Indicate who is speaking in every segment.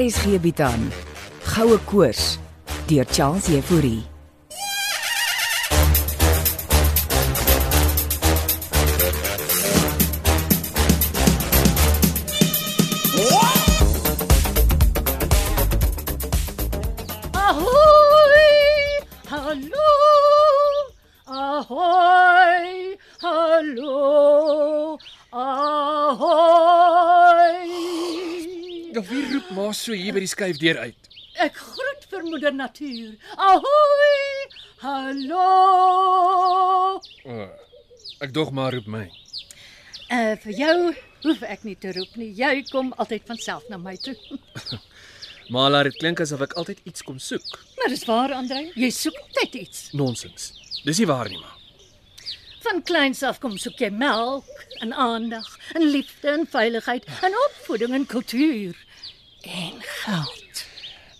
Speaker 1: RSG bied aan Goue Koors deur Charles Euphorie.
Speaker 2: Ahoy! Hallo! Ahoy! Hallo! Ahoy!
Speaker 3: Ja, wie roep maar so hier by die skuifdeur uit?
Speaker 2: Ek groet vir moeder natuur. Ahoy! Hallo!
Speaker 3: O, ek dog maar roep my.
Speaker 2: Uh vir jou hoef ek nie te roep nie. Jy kom altyd van self na my toe.
Speaker 3: Maar laat dit klink asof ek altyd iets kom soek.
Speaker 2: Maar dis waar, Andre, jy soek altyd iets.
Speaker 3: Nonsens. Dis nie waar nie, maar.
Speaker 2: Van kleins af kom soek jy melk en aandag en liefde en veiligheid en opvoeding en kultuur en geld.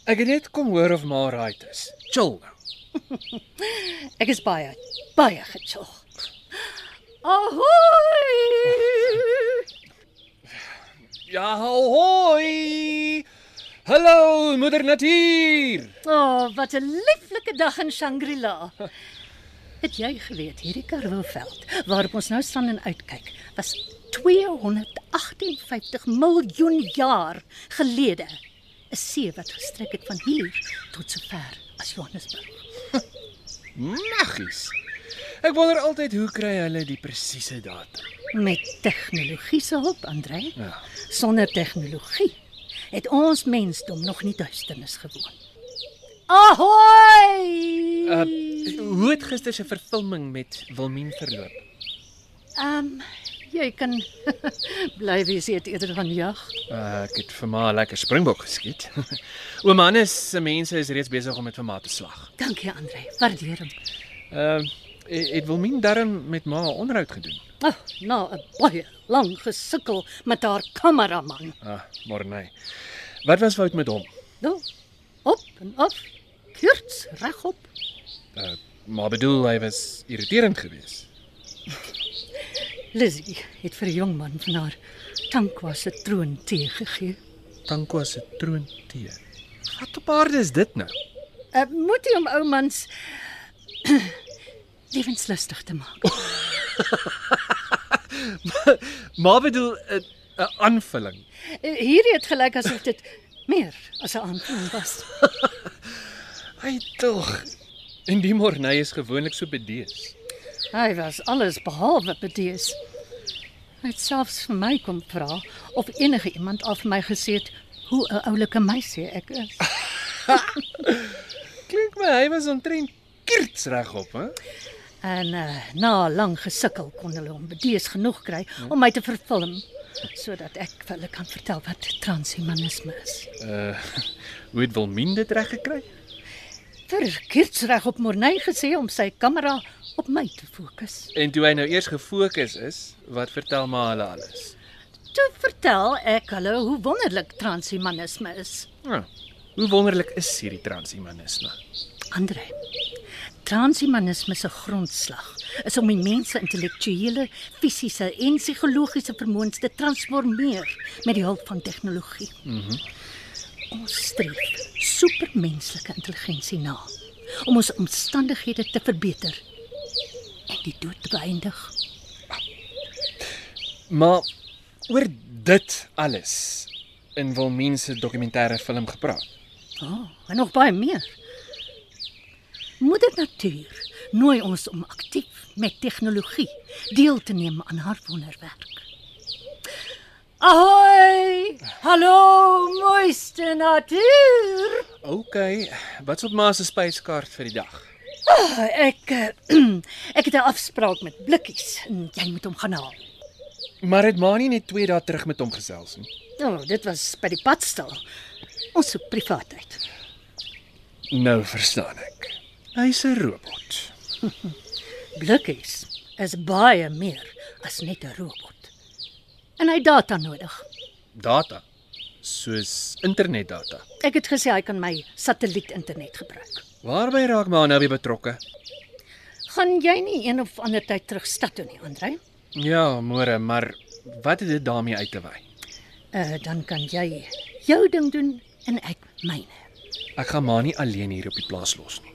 Speaker 3: Ek het net kom hoor of maar right is. Chill nou.
Speaker 2: Ek is baie baie gechog. Ahoy!
Speaker 3: Ja, hoi. Hallo, moeder natuur.
Speaker 2: O, oh, wat 'n lieflike dag in Shangri-La. Het jy geweet hierdie Karwooveld waarop ons nou staan en uitkyk was 258 miljoen jaar gelede 'n see wat gestrek het van hier tot sover as Johannesburg.
Speaker 3: Maggies. Ek wonder altyd hoe kry hulle die presiese data.
Speaker 2: Met tegnologie se hulp, Andre.
Speaker 3: Ja.
Speaker 2: Sonder tegnologie het ons mensdom nog nie duisternis gewoon. Ahoy!
Speaker 3: Uh, hoe het gister se vervulling met Wilmien verloop?
Speaker 2: Ehm um, jy kan bly wees jy het eerder gaan jag.
Speaker 3: Uh, ek het vir my 'n lekker springbok geskiet. Oom Hannes se mense is reeds besig om met vir my te slag.
Speaker 2: Dankie Andre, waardeer hom.
Speaker 3: Ehm uh, het het Wilmien darm met ma 'n onderhoud gedoen.
Speaker 2: Ag, oh, na 'n baie lang gesukkel met haar kameraman.
Speaker 3: Ah, maar nee. Wat was fout met hom?
Speaker 2: Nou, op en af, kurts regop.
Speaker 3: Uh, maar bedoel hy was irriterend geweest.
Speaker 2: Lizzie het vir 'n jong man van haar tankwa se troon tee gegee.
Speaker 3: Tanko se troon tee. Wat op aarde is dit nou?
Speaker 2: Uh, moet jy om ou mans lewenslustig te maak.
Speaker 3: Ma bedoel 'n 'n aanvulling.
Speaker 2: Uh, hierdie het gelyk asof dit meer as 'n aanvulling was.
Speaker 3: Hy tog. En die morney is gewoonlik so bedees.
Speaker 2: Hy was alles behalwe bedees. Hy het selfs vir my kom vra of enige iemand al vir my gesê het hoe 'n oulike meisie ek is.
Speaker 3: Klink my hy was omtrent kierts regop, hè?
Speaker 2: En uh, na lang gesukkel kon hulle hom bedees genoeg kry om my te vervilm sodat ek vir hulle kan vertel wat transhumanisme is.
Speaker 3: Uh hoe het Wilmien dit reg gekry?
Speaker 2: Vir Kirtsreg op Morney gesê om sy kamera op my te fokus.
Speaker 3: En toe hy nou eers gefokus is, wat vertel maar hulle alles?
Speaker 2: Toe vertel ek hulle hoe wonderlik transhumanisme is.
Speaker 3: Nou, hoe wonderlik is hierdie transhumanisme.
Speaker 2: Andre. Transhumanisme se grondslag is om die mens se intellektuele, fisiese en psigologiese vermoëns te transformeer met die hulp van tegnologie. Mm -hmm. Ons streef supermenslike intelligensie na om ons omstandighede te verbeter en die dood te beëindig.
Speaker 3: Maar oor dit alles in Wilmien se dokumentêre film gepraat.
Speaker 2: Oh, en nog baie meer. Moeder Natuur nooi ons om aktief met tegnologie deel te neem aan haar wonderwerk. Ahoy! Hallo, mooiste natuur.
Speaker 3: OK, wat's op ma se spyskaart vir die dag?
Speaker 2: Oh, ek eh, ek het 'n afspraak met Blikkies en jy moet hom gaan haal.
Speaker 3: Maar het ma nie net 2 dae terug met hom gesels nie.
Speaker 2: Nou, oh, dit was by die padstal. Ons soek privaatheid.
Speaker 3: Nou verstaan ek. Hy's 'n robot.
Speaker 2: Blikkies is baie meer as net 'n robot. En hy het data nodig.
Speaker 3: Data soos internetdata.
Speaker 2: Ek het gesê hy kan my satellietinternet gebruik.
Speaker 3: Waarby raak ma nou weer betrokke?
Speaker 2: Gaan jy nie een of ander tyd terug stad toe nie, Andre?
Speaker 3: Ja, môre, maar wat het dit daarmee uit te wy?
Speaker 2: Eh, Uh, dan kan jy jou ding doen en ek myne.
Speaker 3: Ek gaan maar nie alleen hier op die plaas los nie.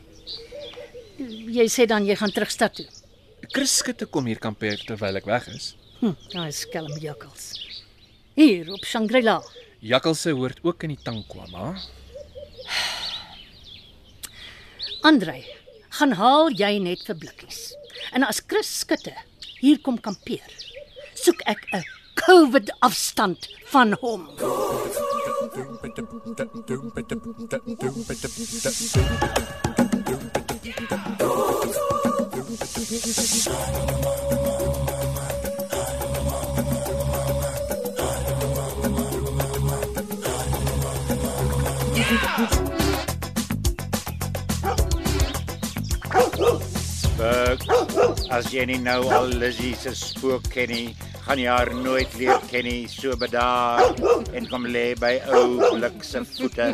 Speaker 2: Jy sê dan jy gaan terug stad toe.
Speaker 3: Chris skitte kom hier kampeer terwyl ek weg is.
Speaker 2: Hm, daai skelm jakkals. Hier op Shangri-La.
Speaker 3: Jakkalse hoort ook in die tang kwam, ha?
Speaker 2: Andrej, gaan haal jy net vir blikkies. En as Chris skutte hier kom kampeer, soek ek 'n COVID afstand van hom.
Speaker 4: Buck, as jy nie nou al Lizzie se spook ken nie, gaan jy haar nooit weer ken nie. So bedaar en kom lê by ou blik se voete.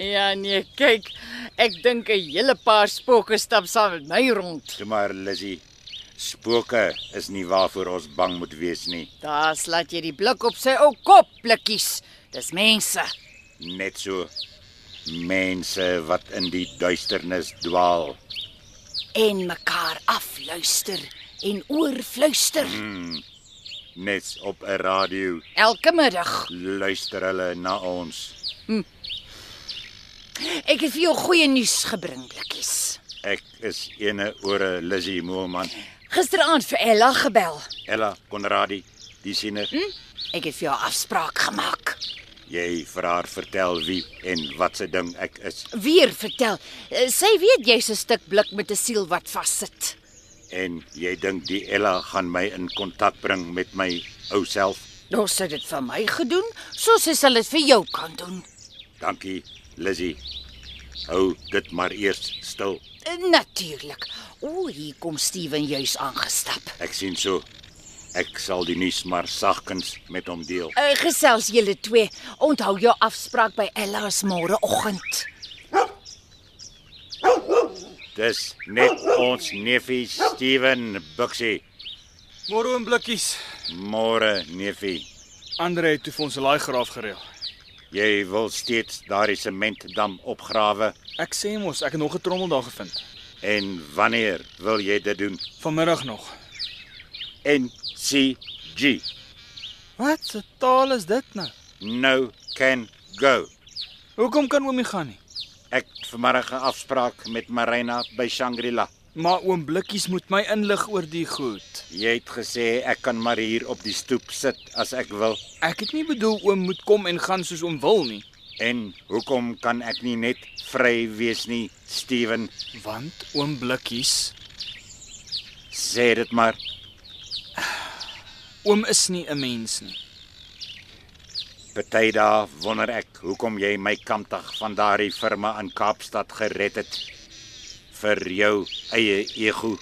Speaker 5: Ja nee, kyk. Ek dink 'n hele paar spooke stap saam met my rond.
Speaker 4: Toe maar Lizzie, spooke is nie waarvoor ons bang moet wees nie,
Speaker 5: Daar slaat jy die blik op sy ou kop, blikkies. Dis mense.
Speaker 4: net so mense wat in die duisternis dwaal.
Speaker 5: en mekaar afluister en oorfluister.
Speaker 4: Hmm, Net op 'n radio
Speaker 5: Elke middag. Hm.
Speaker 4: luister hulle na ons.
Speaker 5: Ek het vir jou goeie nuus gebring, blikkies.
Speaker 4: Ek is ene ore Lizzie Moelman.
Speaker 5: Gisteraand vir Ella gebel. Hm?
Speaker 4: Ella Konradi, die siener.
Speaker 5: Ek het vir jou 'n afspraak gemaak.
Speaker 4: Jy vir haar vertel wie en wat se ding ek is
Speaker 5: Weer vertel. Eh, Sy weet jy's 'n stuk blik met 'n siel wat vassit.
Speaker 4: en jy dink die Ella gaan my in kontak bring met my ou self.
Speaker 5: Nou sit dit vir my gedoen, soos sy sal dit vir jou kan doen.
Speaker 4: Dankie, Lizzy. Hou dit maar eers stil.
Speaker 5: Eh, Natuurlik. O, hier kom Steven juis aangestap.
Speaker 4: Ek sien so. Ek sal die nuus maar sagkens met hom deel.
Speaker 5: Uh, gesels julle twee. Onthou jou afspraak by Ella se môreoggend.
Speaker 4: Dis net ons neefie Steven Buxie.
Speaker 6: Môre oom blikkies.
Speaker 4: Môre neefie.
Speaker 6: Andre het toe vir ons 'n laai graaf gereël.
Speaker 4: Jy wil steeds daardie sementdam opgrawe
Speaker 6: Ek sê mos, ek het nog 'n trommel daar gevind.
Speaker 4: en wanneer wil jy dit doen?
Speaker 6: Vanmiddag nog.
Speaker 4: NCG.
Speaker 6: Wat 'n taal is dit nou?
Speaker 4: Nou can go.
Speaker 6: Hoekom kan oomie gaan nie?
Speaker 4: Ek het vanmiddag 'n afspraak met Marina by Shangri-La.
Speaker 6: Maar oom blikkies moet my inlig oor die goed.
Speaker 4: Jy het gesê ek kan maar hier op die stoep sit as ek wil.
Speaker 6: Ek het nie bedoel oom moet kom en gaan soos oom wil nie,
Speaker 4: En hoekom kan ek nie net vry wees nie, Steven?
Speaker 6: want oom blikkies,
Speaker 4: Sê dit maar.
Speaker 6: oom is nie 'n mens nie.
Speaker 4: Party dae wonder ek hoekom jy my kampdag van daardie firma in Kaapstad gered het vir jou eie ego.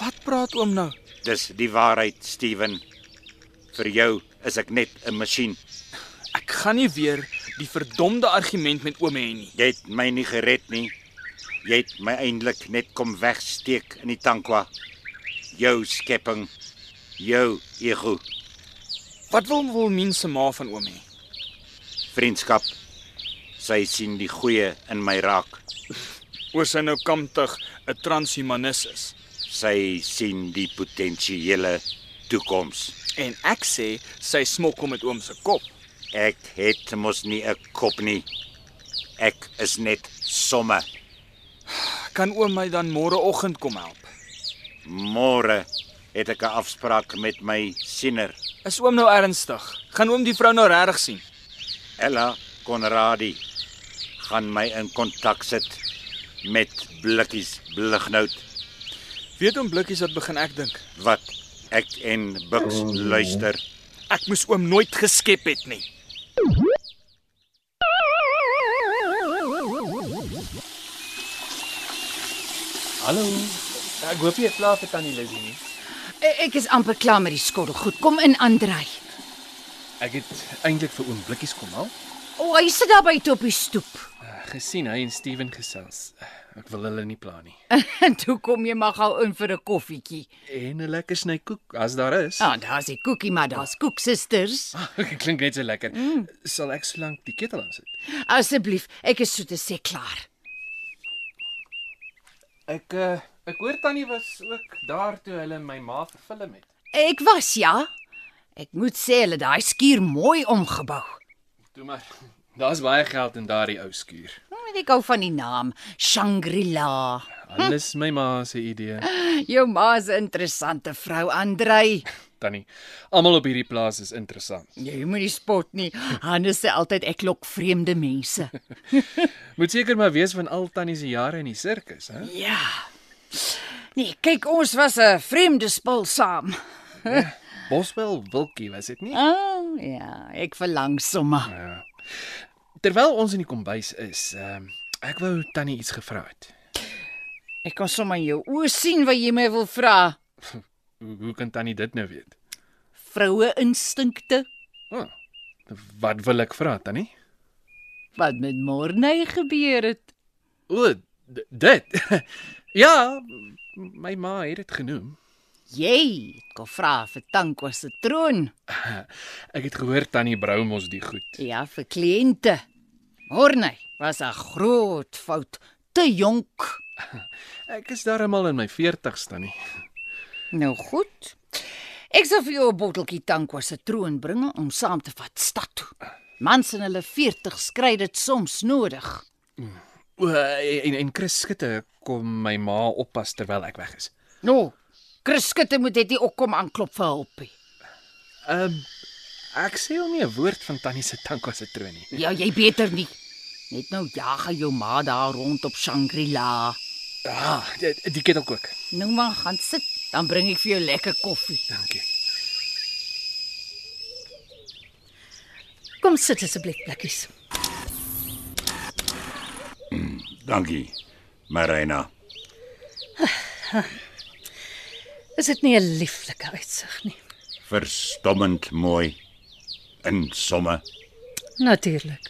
Speaker 6: Wat praat oom nou?
Speaker 4: Dis die waarheid, Steven. Vir jou is ek net 'n masjien.
Speaker 6: Ek gaan nie weer die verdomde argument met oom hê nie.
Speaker 4: Jy het my nie gered nie. Jy het my eintlik net kom wegsteek in die tankwa. Jou skepping, jou ego,
Speaker 6: Wat wil wil mense ma van oom hê?
Speaker 4: vriendskap. Sy sien die goeie in my raak.
Speaker 6: Oor sy nou kamptig 'n transhumanis is.
Speaker 4: Sy sien die potensiële toekoms.
Speaker 6: En ek sê sy smokkel met oom se kop.
Speaker 4: Ek het mos nie 'n kop nie. Ek is net somme.
Speaker 6: Kan oom my dan môreoggend kom help?
Speaker 4: Môre het ek 'n afspraak met my siener,
Speaker 6: Is oom nou ernstig? Gaan oom die vrou nou regtig sien?
Speaker 4: Ella Konradi. Gaan my in kontak sit met blikkies blignout.
Speaker 6: Weet oom blikkies wat begin ek dink.
Speaker 4: wat ek en Bux luister.
Speaker 6: Ek moes oom nooit geskep het nie.
Speaker 3: Hallo. Ek hoop jy het klaar vir tannie Lizzie nie.
Speaker 5: Eh, Ek is amper klaar met die skottel. Goed, kom in Andrei.
Speaker 3: Ek het eintlik vir oom blikkies kom haal.
Speaker 5: O, hy sit daar buite op die stoep.
Speaker 3: gesien hy en Steven gesels. Ek wil hulle nie pla nie.
Speaker 5: En toe kom jy maar gou in vir 'n koffietjie.
Speaker 3: En 'n lekker sny koek as daar is.
Speaker 5: Ja, ah, daar's die koekie, maar daar's koeksisters.
Speaker 3: Klink net so lekker. Mm. Sal ek solank die ketel aansit?
Speaker 5: Asseblief, ek is so te sê klaar.
Speaker 3: Ek uh, ek hoor tannie was ook daar toe hulle my ma vervilm het.
Speaker 5: Ek was ja. Ek moet sê hulle het daai skuur mooi omgebou.
Speaker 3: Toe maar, daar's baie geld in daardie ou skuur.
Speaker 5: Moet Hm, ek hou van die naam Shangri-La.
Speaker 3: Alles my ma se idee.
Speaker 5: Jou ma's 'n interessante vrou, Andrei.
Speaker 3: Tannie, almal op hierdie plaas is interessant.
Speaker 5: Jy moenie spot nie. Hannes sê altyd ek lok vreemde mense.
Speaker 3: Moet seker maar wees van al tannie se jare in die sirkus, hè?
Speaker 5: Ja. Nee, kyk, ons was 'n vreemde spul saam.
Speaker 3: Boswel Wilkie was dit nie?
Speaker 5: O, oh, ja, ek verlang sommer.
Speaker 3: Terwyl ons in die kombuis is, ehm um, ek wou tannie iets gevra het.
Speaker 5: Ek kan sommer in jou oë sien wat jy my wil vra.
Speaker 3: Hoe, hoe kan tannie dit nou weet?
Speaker 5: Vroue instinkte.
Speaker 3: Oh, wat wil ek vra tannie?
Speaker 5: Wat met Morney gebeur het?
Speaker 3: O, d- dit. ja, my ma het dit genoem.
Speaker 5: Jy het kom vra vir Tanko se troon.
Speaker 3: Ek het gehoor tannie brou mos die goed.
Speaker 5: Ja, vir kliënte. Morney was 'n groot fout, te jonk.
Speaker 3: Ek is darmal in my 40's tannie.
Speaker 5: Nou goed. Ek sal vir jou 'n botteltjie Tanko se troon bring om saam te vat stad toe. Mans in hulle 40 skry dit soms nodig.
Speaker 3: O, en en Chris skitte kom my ma oppas terwyl ek weg is.
Speaker 5: Nou, Kriskete moet dit nie ook kom aanklop vir hulp nie.
Speaker 3: Ehm um, ek sê hom nie 'n woord van tannie se tank was 'n troon nie.
Speaker 5: Ja, jy beter nie. Net nou jag hy jou ma daar rond op Shangri-La.
Speaker 3: Ah, die, die ketelkoek.
Speaker 5: Nou maar gaan sit, dan bring ek vir jou lekker koffie.
Speaker 3: Dankie.
Speaker 2: Kom sit asseblief, blikkies.
Speaker 4: Dankie, Marina.
Speaker 2: Is dit nie 'n lieflike uitsig nie?
Speaker 4: Verstommend mooi. In somme.
Speaker 2: Natuurlik.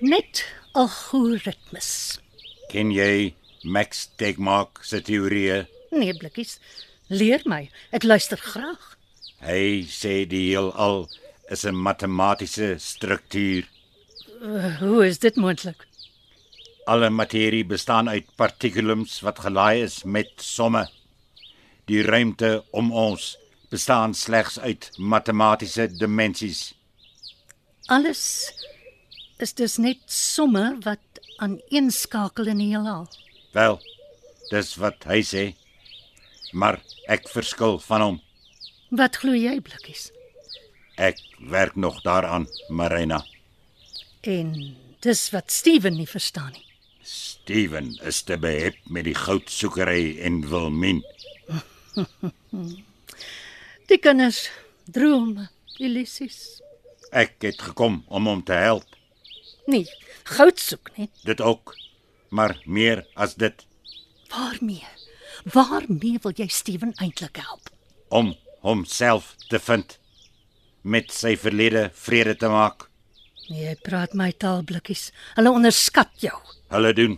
Speaker 2: Net algoritmes.
Speaker 4: Ken jy Max Tegmark se teorieë?
Speaker 2: Nee, blikkies. Leer my. Ek luister graag.
Speaker 4: Hy sê die heelal is 'n matematiese struktuur.
Speaker 2: Hoe is dit moontlik?
Speaker 4: Alle materie bestaan uit partikelums wat gelaai is met somme. Die ruimte om ons bestaan slegs uit matematiese dimensies.
Speaker 2: Alles is dus net somme wat aaneenskakel in die heelal.
Speaker 4: Wel, dis wat hy sê. Maar ek verskil van hom.
Speaker 2: Wat glo jy, blikkies?
Speaker 4: Ek werk nog daaraan, Marina.
Speaker 2: En dis wat Steven nie verstaan nie.
Speaker 4: Steven is te behep met die goudsoekery en Wilmien.
Speaker 2: Die kinders drome, illusies.
Speaker 4: Ek het gekom om hom te help.
Speaker 2: Nee, goud soek nee. nie.
Speaker 4: Dit ook, maar meer as dit
Speaker 2: Waarmee? Waarmee wil jy Steven eintlik help?
Speaker 4: om homself te vind, met sy verlede vrede te maak.
Speaker 2: Nee, jy praat my taal blikkies. Hulle onderskat jou.
Speaker 4: Hulle doen.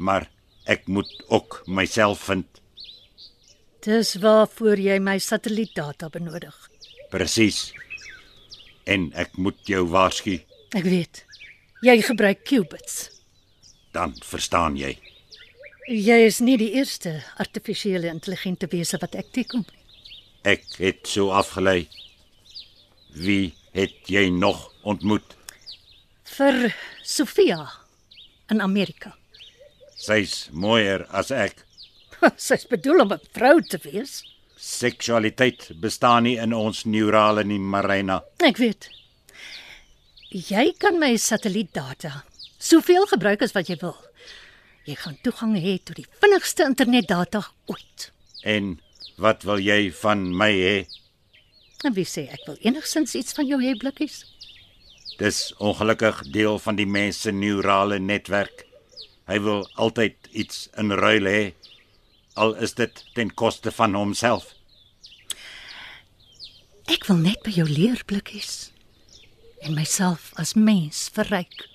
Speaker 4: Maar ek moet ook myself vind.
Speaker 2: Dis waarvoor jy my satellietdata benodig.
Speaker 4: Presies. En ek moet jou waarsku,
Speaker 2: Ek weet. Jy gebruik qubits.
Speaker 4: dan verstaan jy.
Speaker 2: Jy is nie die eerste artifisiële intelligente wese wat ek teekom nie.
Speaker 4: Ek het so afgelei. Wie het jy nog ontmoet?
Speaker 2: Vir Sofia in Amerika.
Speaker 4: Sy's mooier as ek.
Speaker 2: Sy's bedoel om 'n vrou te wees.
Speaker 4: Seksualiteit bestaan nie in ons neurale nie, Marina.
Speaker 2: Ek weet. Jy kan my satellietdata soveel gebruik as wat jy wil. Jy gaan toegang hê tot die vinnigste internetdata ooit.
Speaker 4: En wat wil jy van my hê?
Speaker 2: En wie sê ek wil enigstens iets van jou hê blikkies?
Speaker 4: Dis ongelukkig deel van die mens se neurale netwerk. Hy wil altyd iets in ruil hê, al is dit ten koste van homself.
Speaker 2: Ek wil net by jou leer blikkies en myself as mens verryk.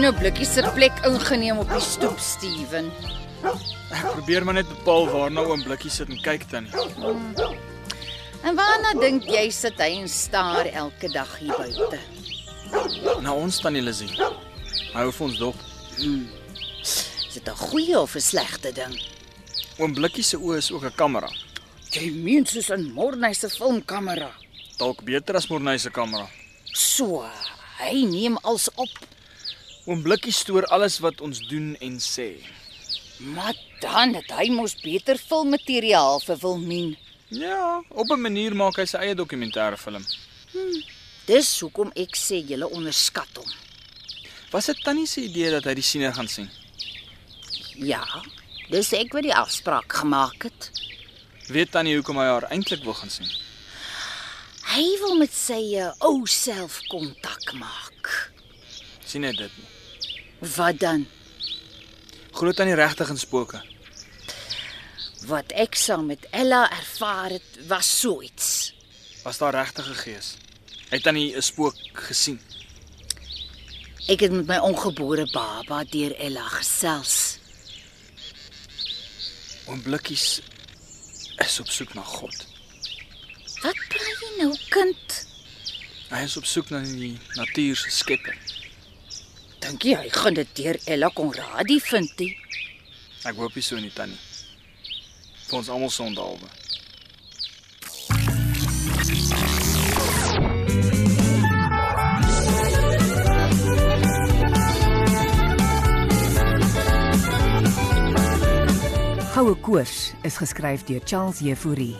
Speaker 5: nou blikkies se plek ingeneem op die stoep, Steven.
Speaker 6: Ek probeer maar net bepaal waarna oom Blikkie sit en kyk tannie.
Speaker 5: En waarna dink jy sit hy en staar elke dag hier buite?
Speaker 6: Na ons tannie Lizzie. Hou vir ons dop.
Speaker 5: Is dit 'n goeie of 'n slegte ding?
Speaker 6: Oom Blikkie se oë is ook 'n kamera.
Speaker 5: Jy meen soos 'n Morney se filmkamera.
Speaker 6: Dalk beter as Morney se kamera.
Speaker 5: So, hy neem als op.
Speaker 6: Oom Blikkie stoor alles wat ons doen en sê.
Speaker 5: Maar dan het hy mos beter filmmateriaal vir Wilmien.
Speaker 6: Ja, op 'n manier maak hy sy eie dokumentêre film.
Speaker 5: Dis hoekom ek sê jy onderskat hom.
Speaker 6: Was dit tannie se idee dat hy die siener gaan sien?
Speaker 5: Ja, dis ek wat die afspraak gemaak het.
Speaker 6: Weet tannie hoekom hy haar eintlik wil gaan sien?
Speaker 5: Hy wil met sy eh, ou self kontak maak.
Speaker 6: sien hy dit nie?
Speaker 5: Wat dan?
Speaker 6: Glo tannie regtig in spooke?
Speaker 5: Wat ek saam met Ella ervaar het, was so iets.
Speaker 6: Was daar regtig 'n gees? Het tannie 'n spook gesien?
Speaker 5: Ek het met my ongebore baba deur Ella gesels.
Speaker 6: Oom Blikkies is op soek na God.
Speaker 5: Wat praat jy nou, kind?
Speaker 6: Hy is op soek na die natuur se skepper.
Speaker 5: Dink jy hy gaan dit deur Ella Konradi vind nie?
Speaker 6: Ek hoop hy so nie tannie. Vir ons almal sondehalwe.
Speaker 1: Goue Koors is geskryf deur Charles Jefouri.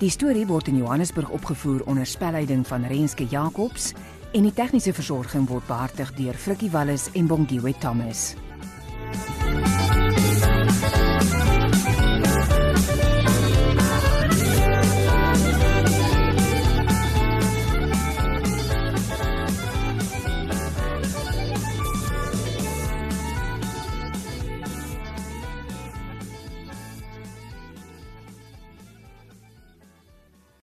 Speaker 1: Die storie word in Johannesburg opgevoer onder spelleiding van Renske Jacobs en die tegniese versorging word behartig deur Frikkie Wallis en Bongwe Thomas.